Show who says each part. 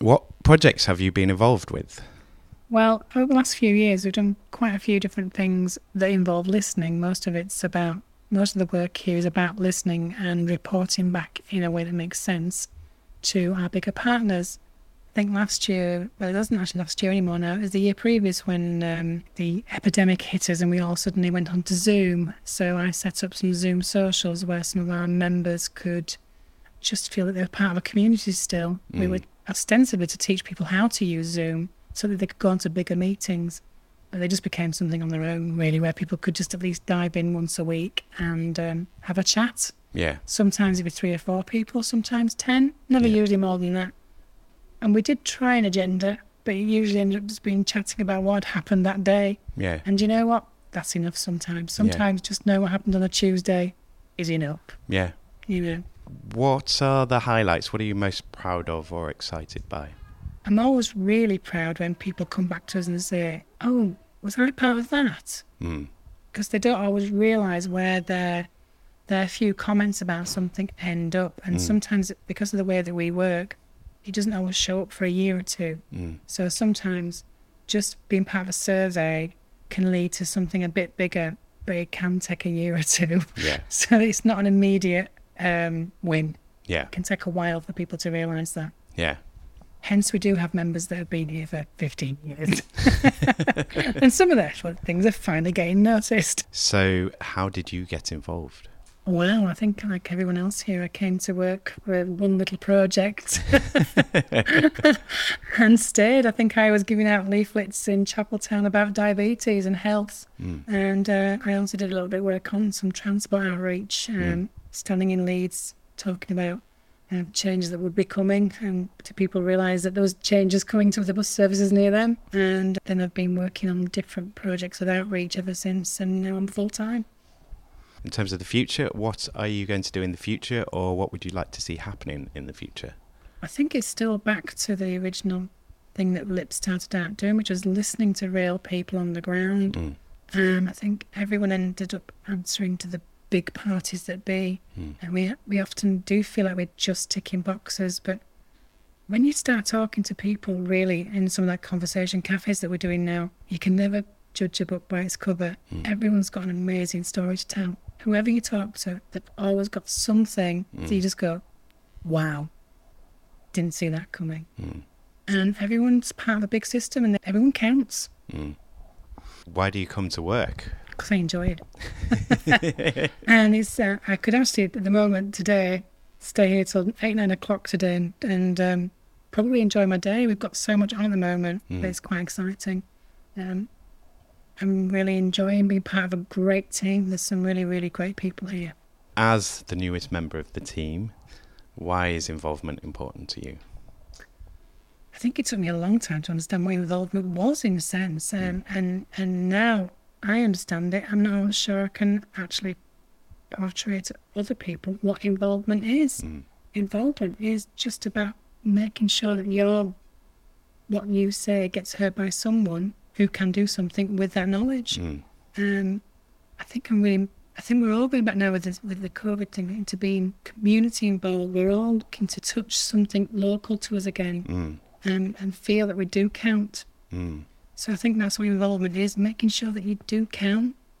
Speaker 1: What projects have you been involved with?
Speaker 2: Well, over the last few years, we've done quite a few different things that involve listening. Most of it's about, most of the work here is about listening and reporting back in a way that makes sense to our bigger partners. I think last year, well, it doesn't actually last year anymore now, it was the year previous when um, the epidemic hit us and we all suddenly went on to Zoom. So I set up some Zoom socials where some of our members could just feel that they were part of a community still. We
Speaker 1: Mm.
Speaker 2: were ostensibly to teach people how to use Zoom so that they could go on to bigger meetings. But they just became something on their own, really, where people could just at least dive in once a week and um, have a chat.
Speaker 1: Yeah.
Speaker 2: Sometimes it'd be three or four people, sometimes ten. Never
Speaker 1: Yeah.
Speaker 2: usually more than that. And we did try an agenda, but it usually ended up just being chatting about what happened that day.
Speaker 1: Yeah.
Speaker 2: And you know what? That's enough sometimes.
Speaker 1: Yeah.
Speaker 2: Sometimes just know what happened on a Tuesday is enough,
Speaker 1: Yeah.
Speaker 2: you know.
Speaker 1: What are the highlights? What are you most proud of or excited by?
Speaker 2: I'm always really proud when people come back to us and say, Oh, was I part of that?
Speaker 1: Mm.
Speaker 2: because they don't always realise where their their few comments about something end up, and
Speaker 1: Mm.
Speaker 2: sometimes because of the way that we work, it doesn't always show up for a year or two.
Speaker 1: Mm.
Speaker 2: So sometimes just being part of a survey can lead to something a bit bigger, but it can take a year or two.
Speaker 1: Yeah.
Speaker 2: So it's not an immediate um, win.
Speaker 1: Yeah.
Speaker 2: It can take a while for people to realise that.
Speaker 1: Yeah.
Speaker 2: Hence, we do have members that have been here for 15 years. and some of their things are finally getting noticed.
Speaker 1: So, how did you get involved?
Speaker 2: Well, I think like everyone else here, I came to work for one little project and stayed. I think I was giving out leaflets in Chapel Town about diabetes and health. And uh, I also did a little bit of work on some transport outreach, um, standing in Leeds, talking about uh, changes that would be coming and to people realise that those changes coming to the bus services near them. And then I've been working on different projects with outreach ever since and now I'm full time.
Speaker 1: In terms of the future, what are you going to do in the future or what would you like to see happening in the future?
Speaker 2: I think it's still back to the original thing that Lip started out doing, which was listening to real people on the ground.
Speaker 1: Mm.
Speaker 2: Um, I think everyone ended up answering to the big parties that be,
Speaker 1: Mm.
Speaker 2: and we we often do feel like we're just ticking boxes, but when you start talking to people really in some of that conversation cafes that we're doing now, you can never judge a book by its cover.
Speaker 1: Mm.
Speaker 2: Everyone's got an amazing story to tell. Whoever you talk to, they've always got something that
Speaker 1: Mm.
Speaker 2: you just go, wow, didn't see that coming. And everyone's part of a big system and everyone counts
Speaker 1: Why do you come to work?
Speaker 2: because I enjoy it. and it's uh, I could actually at the moment today stay here till eight nine o'clock today and, and um, probably enjoy my day. We've got so much on at the moment that it's quite exciting. Um, I'm really enjoying being part of a great team. There's some really really great people here.
Speaker 1: As the newest member of the team, why is involvement important to you?
Speaker 2: I think it took me a long time to understand what involvement was in a sense, um, and and now I understand it. I'm not always sure I can actually portray to other people what involvement is. Involvement is just about making sure that your what you say gets heard by someone who can do something with that knowledge. Um, I think I'm really. I think we're all going back now with this, with the COVID thing into being community involved. We're all looking to touch something local to us again
Speaker 1: Mm.
Speaker 2: um, and feel that we do count.
Speaker 1: Mm.
Speaker 2: So I think that's what involvement is making sure that you do count